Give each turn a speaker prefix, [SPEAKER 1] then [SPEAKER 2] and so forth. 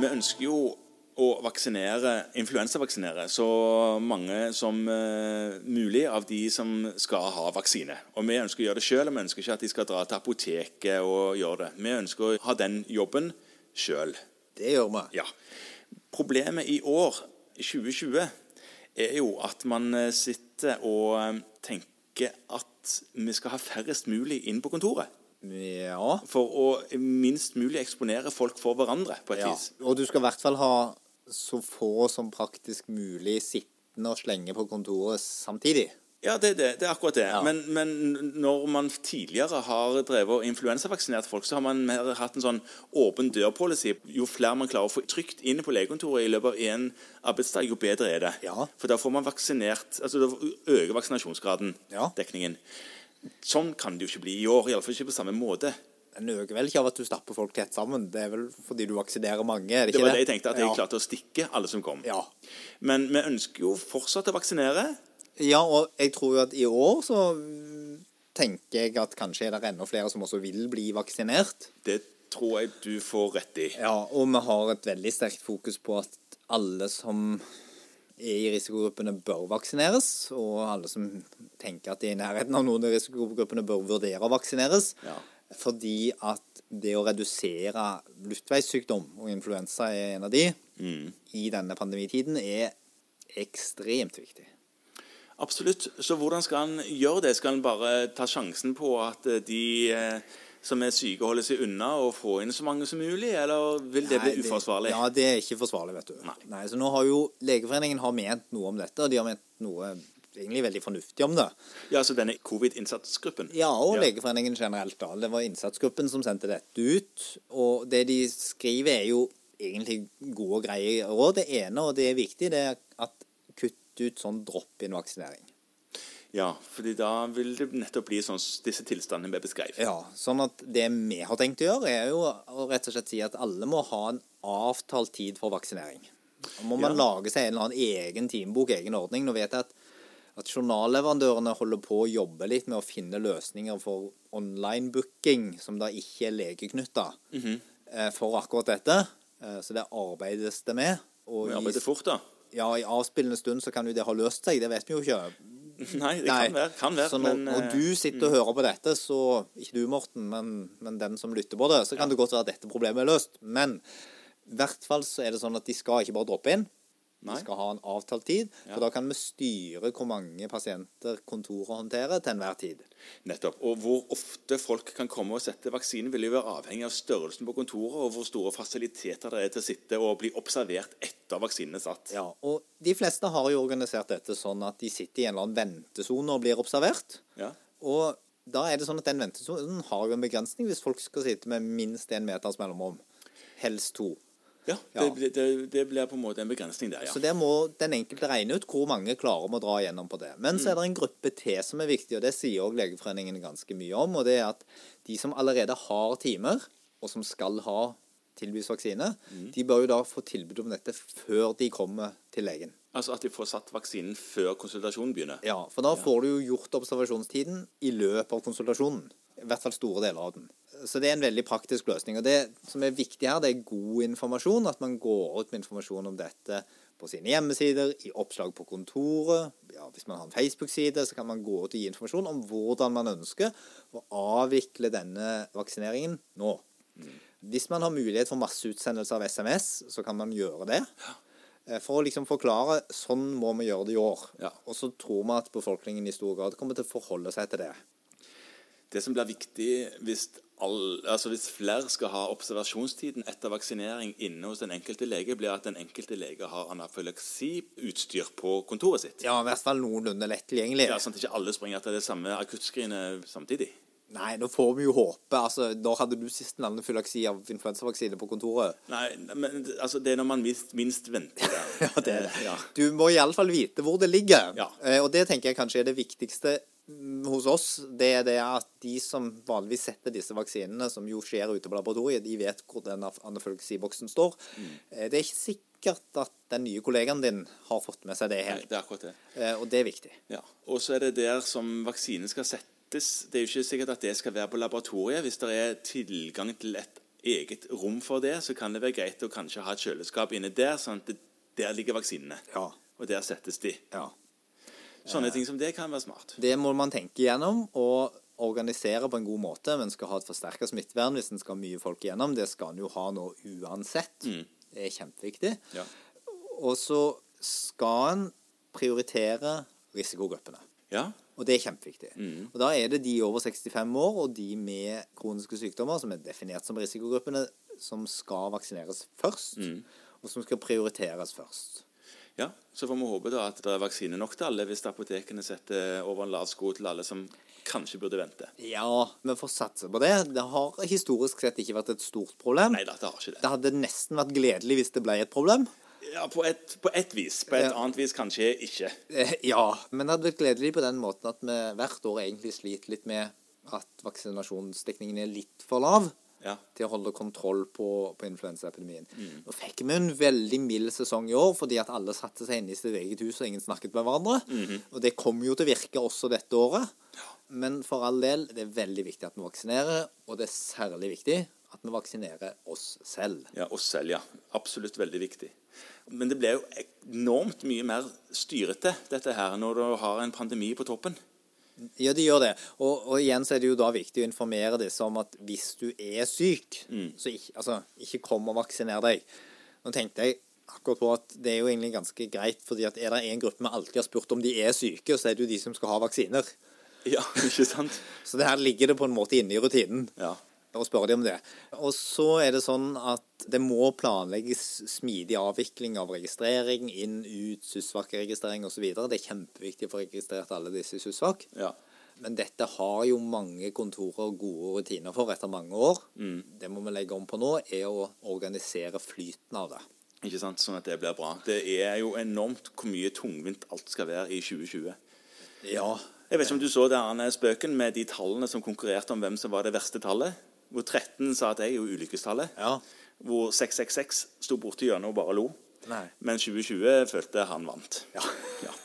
[SPEAKER 1] Vi ønsker jo å vaksinere, influensavaksinere så mange som eh, mulig av de som skal ha vaksine. Og Vi ønsker å gjøre det sjøl, og vi ønsker ikke at de skal dra til apoteket og gjøre det. Vi ønsker å ha den jobben sjøl.
[SPEAKER 2] Det gjør vi.
[SPEAKER 1] Ja. Problemet i år, 2020, er jo at man eh, sitter og eh, tenker at vi skal ha færrest mulig inn på kontoret.
[SPEAKER 2] Ja.
[SPEAKER 1] For å minst mulig eksponere folk for hverandre, på et
[SPEAKER 2] ja.
[SPEAKER 1] vis.
[SPEAKER 2] Og du skal i hvert fall ha så få som praktisk mulig sittende og slenge på kontoret samtidig.
[SPEAKER 1] Ja, det, er det, det er akkurat det.
[SPEAKER 2] Ja.
[SPEAKER 1] Men, men når man tidligere har drevet og influensavaksinert folk, så har man mer hatt en sånn åpen dør-policy. Jo flere man klarer å få trygt inn på legekontoret i løpet av én arbeidsdag, jo bedre er det.
[SPEAKER 2] Ja.
[SPEAKER 1] For da får man vaksinert Altså da øker vaksinasjonsgraden,
[SPEAKER 2] Ja.
[SPEAKER 1] dekningen. Sånn kan det jo ikke bli i år. Iallfall ikke på samme måte.
[SPEAKER 2] Den øker vel ikke av at du stapper folk tett sammen. Det er vel fordi du vaksinerer mange, er det
[SPEAKER 1] Det
[SPEAKER 2] ikke det?
[SPEAKER 1] var det jeg tenkte, at jeg
[SPEAKER 2] ja.
[SPEAKER 1] klarte å stikke alle som kom.
[SPEAKER 2] Ja.
[SPEAKER 1] Men vi ønsker jo fortsatt å vaksinere.
[SPEAKER 2] ja, og jeg tror jo at i år så tenker jeg at kanskje er det enda flere som også vil bli vaksinert.
[SPEAKER 1] Det tror jeg du får rett i.
[SPEAKER 2] Ja, og vi har et veldig sterkt fokus på at alle som er i risikogruppene, bør vaksineres. Og alle som tenker at de er i nærheten av noen i risikogruppene, bør vurdere å vaksineres.
[SPEAKER 1] Ja.
[SPEAKER 2] Fordi at det å redusere luftveissykdom, og influensa er en av de,
[SPEAKER 1] Mm.
[SPEAKER 2] i denne pandemitiden, er ekstremt viktig.
[SPEAKER 1] Absolutt. Så hvordan skal han gjøre det? Skal han bare ta sjansen på at eh, de eh, som er syke, holder seg unna og få inn så mange som mulig, eller vil det
[SPEAKER 2] Nei,
[SPEAKER 1] bli uforsvarlig?
[SPEAKER 2] Ja, det er ikke forsvarlig, vet du.
[SPEAKER 1] Nei.
[SPEAKER 2] så nå har jo Legeforeningen har ment noe om dette, og de har ment noe egentlig veldig fornuftig om det.
[SPEAKER 1] Ja, så denne covid-innsatsgruppen?
[SPEAKER 2] Ja, og
[SPEAKER 1] Ja.
[SPEAKER 2] Legeforeningen generelt. da. Det var innsatsgruppen som sendte dette ut. Og det de skriver, er jo egentlig gode og greie råd. Det ene, og det er viktig, det er at kutt ut sånn drop-in-vaksinering.
[SPEAKER 1] Ja, fordi da vil det nettopp bli sånn s- disse tilstandene vi beskrev.
[SPEAKER 2] Ja, sånn at det vi har tenkt å gjøre, er jo å rett og slett si at alle må ha en avtalt tid for vaksinering. Og må man
[SPEAKER 1] Ja.
[SPEAKER 2] lage seg en eller annen egen timebok, egen ordning. Nå vet jeg at, at journalleverandørene holder på å jobbe litt med å finne løsninger for online-booking, som da ikke er legeknytta,
[SPEAKER 1] Mhm.
[SPEAKER 2] eh, for akkurat dette. Eh, Så det arbeides det med. Og
[SPEAKER 1] Vi
[SPEAKER 2] i,
[SPEAKER 1] arbeider fort, da.
[SPEAKER 2] ja, i avspillende stund så kan jo det ha løst seg, det vet vi jo ikke.
[SPEAKER 1] Nei, det kan være. Kan være
[SPEAKER 2] Så når,
[SPEAKER 1] men
[SPEAKER 2] når
[SPEAKER 1] eh,
[SPEAKER 2] du sitter og hører på dette, så Ikke du, Morten, men, men den som lytter på det, så kan det godt være at dette problemet er løst. Men i hvert fall så er det sånn at de skal ikke bare droppe inn.
[SPEAKER 1] Nei.
[SPEAKER 2] De skal ha en avtalt tid.
[SPEAKER 1] Ja.
[SPEAKER 2] For da kan vi styre hvor mange pasienter kontoret håndterer til enhver tid.
[SPEAKER 1] Nettopp. Og hvor ofte folk kan komme og sette vaksinen, vil jo være avhengig av størrelsen på kontoret, og hvor store fasiliteter det er til å sitte og bli observert etter vaksinen er satt.
[SPEAKER 2] Ja, og de fleste har jo organisert dette sånn at de sitter i en eller annen ventesone og blir observert.
[SPEAKER 1] Ja.
[SPEAKER 2] Og da er det sånn at den ventesonen har jo en begrensning hvis folk skal sitte med minst én meters mellomrom. Helst to.
[SPEAKER 1] Ja,
[SPEAKER 2] Ja.
[SPEAKER 1] Det, det, det blir på en måte en begrensning der, ja.
[SPEAKER 2] Så der må den enkelte regne ut hvor mange klarer vi å dra gjennom på det. Men så er det en gruppe til som er viktig, og det sier òg Legeforeningen ganske mye om. Og det er at de som allerede har timer, og som skal ha tilbys vaksine, de bør jo da få tilbud om dette før de kommer til legen.
[SPEAKER 1] Altså at de får satt vaksinen før konsultasjonen begynner.
[SPEAKER 2] Ja, For da får du jo gjort observasjonstiden i løpet av konsultasjonen. I hvert fall store deler av den. Så det er en veldig praktisk løsning. Og det som er viktig her, det er god informasjon. At man går ut med informasjon om dette på sine hjemmesider, i oppslag på kontoret. Ja, hvis man har en Facebook-side, så kan man gå ut og gi informasjon om hvordan man ønsker å avvikle denne vaksineringen nå. Hvis man har mulighet for masseutsendelse av SMS, så kan man gjøre det. Eh, For å liksom forklare sånn må vi gjøre det i år.
[SPEAKER 1] Ja.
[SPEAKER 2] Og så tror vi at befolkningen i stor grad kommer til å forholde seg til det.
[SPEAKER 1] Det som blir viktig hvis, all, altså hvis flere skal ha observasjonstiden etter vaksinering inne hos den enkelte lege, blir at den enkelte lege har anafylaksi-utstyr på kontoret sitt.
[SPEAKER 2] Ja, i hvert fall noenlunde lett tilgjengelig.
[SPEAKER 1] Ja, sånn at ikke alle springer til det samme akuttskrinet samtidig.
[SPEAKER 2] Nei, nå får vi jo håpe. Altså, når hadde du sist en anafylaksi av influensavaksine på kontoret?
[SPEAKER 1] Nei, men altså, det er når man minst, minst venter det.
[SPEAKER 2] Ja, det er det.
[SPEAKER 1] Ja.
[SPEAKER 2] Eh, Du må iallfall vite hvor det ligger.
[SPEAKER 1] Ja.
[SPEAKER 2] Eh, Og det tenker jeg kanskje er det viktigste mm, hos oss. Det er det at de som vanligvis setter disse vaksinene, som jo skjer ute på laboratoriet, de vet hvor den af- anafylaksiboksen står.
[SPEAKER 1] Mm.
[SPEAKER 2] Eh, Det er ikke sikkert at den nye kollegaen din har fått med seg det
[SPEAKER 1] Nei,
[SPEAKER 2] helt.
[SPEAKER 1] det er akkurat det.
[SPEAKER 2] Eh, Og det er viktig.
[SPEAKER 1] Ja, og så er det der som vaksinen skal settes. Det er jo ikke sikkert at det skal være på laboratoriet. Hvis det er tilgang til et eget rom for det, så kan det være greit å kanskje ha et kjøleskap inne der. sånn at det, Der ligger vaksinene,
[SPEAKER 2] Ja.
[SPEAKER 1] og der settes de.
[SPEAKER 2] ja.
[SPEAKER 1] Sånne ting som det kan være smart.
[SPEAKER 2] Det må man tenke gjennom og organisere på en god måte. Men skal ha et forsterket smittevern hvis en skal ha mye folk igjennom. Det skal en jo ha nå uansett. Det er kjempeviktig.
[SPEAKER 1] Mm. Ja.
[SPEAKER 2] Og så skal en prioritere risikogruppene.
[SPEAKER 1] ja.
[SPEAKER 2] Og det er kjempeviktig. Og da er det de over 65 år og de med kroniske sykdommer, som er definert som risikogruppene, som skal vaksineres først. Og som skal prioriteres først.
[SPEAKER 1] ja. Så får vi håpe da at det er vaksine nok til alle, hvis apotekene setter over en lav sko til alle som kanskje burde vente.
[SPEAKER 2] Ja, vi får satse på det. Det har historisk sett ikke vært et stort problem.
[SPEAKER 1] Nei da, det har ikke det.
[SPEAKER 2] Det hadde nesten vært gledelig hvis det ble et problem.
[SPEAKER 1] Ja, På ett på ett vis. På et
[SPEAKER 2] Ja.
[SPEAKER 1] annet vis kanskje ikke.
[SPEAKER 2] Eh, Ja, men det hadde vært gledelig på den måten at vi hvert år egentlig sliter litt med at vaksinasjonsdekningen er litt for lav
[SPEAKER 1] Ja.
[SPEAKER 2] til å holde kontroll på, på influensaepidemien. Nå fikk vi en veldig mild sesong i år fordi at alle satte seg inne i sitt eget hus og ingen snakket med hverandre. Og det kommer jo til å virke også dette året. Men for all del, det er veldig viktig at vi vaksinerer, og det er særlig viktig at vi vaksinerer oss selv.
[SPEAKER 1] Ja, oss selv, ja. Absolutt veldig viktig. Men det ble jo enormt mye mer styrete, dette her, når du har en pandemi på toppen.
[SPEAKER 2] Ja, de gjør det. Og, og igjen så er det jo da viktig å informere disse om at hvis du er syk, så ikke, altså, ikke kom og vaksiner deg. Nå tenkte jeg akkurat på at det er jo egentlig ganske greit, fordi at er det en gruppe vi alltid har spurt om de er syke, så er det jo de som skal ha vaksiner.
[SPEAKER 1] Ja, ikke sant?
[SPEAKER 2] Så det her ligger det på en måte inne i rutinen.
[SPEAKER 1] Ja.
[SPEAKER 2] Og spør de om det. Og så er det sånn at det må planlegges smidig avvikling av registrering, inn, ut, SUSVAK-registrering osv. Det er kjempeviktig å få registrert alle disse i SUSVAK.
[SPEAKER 1] ja.
[SPEAKER 2] Men dette har jo mange kontorer gode rutiner for etter mange år. Det må vi legge om på nå, er å organisere flyten av det.
[SPEAKER 1] Ikke sant? Sånn at det blir bra. Det er jo enormt hvor mye tungvint alt skal være i 2020.
[SPEAKER 2] Ja.
[SPEAKER 1] Jeg vet ikke om du så denne spøken med de tallene som konkurrerte om hvem som var det verste tallet. Hvor 13 sa at jeg er jo ulykkestallet.
[SPEAKER 2] Ja.
[SPEAKER 1] Hvor 666 sto borti hjørnet og bare lo.
[SPEAKER 2] Nei.
[SPEAKER 1] Men 2020 følte han vant.
[SPEAKER 2] Ja.
[SPEAKER 1] ja.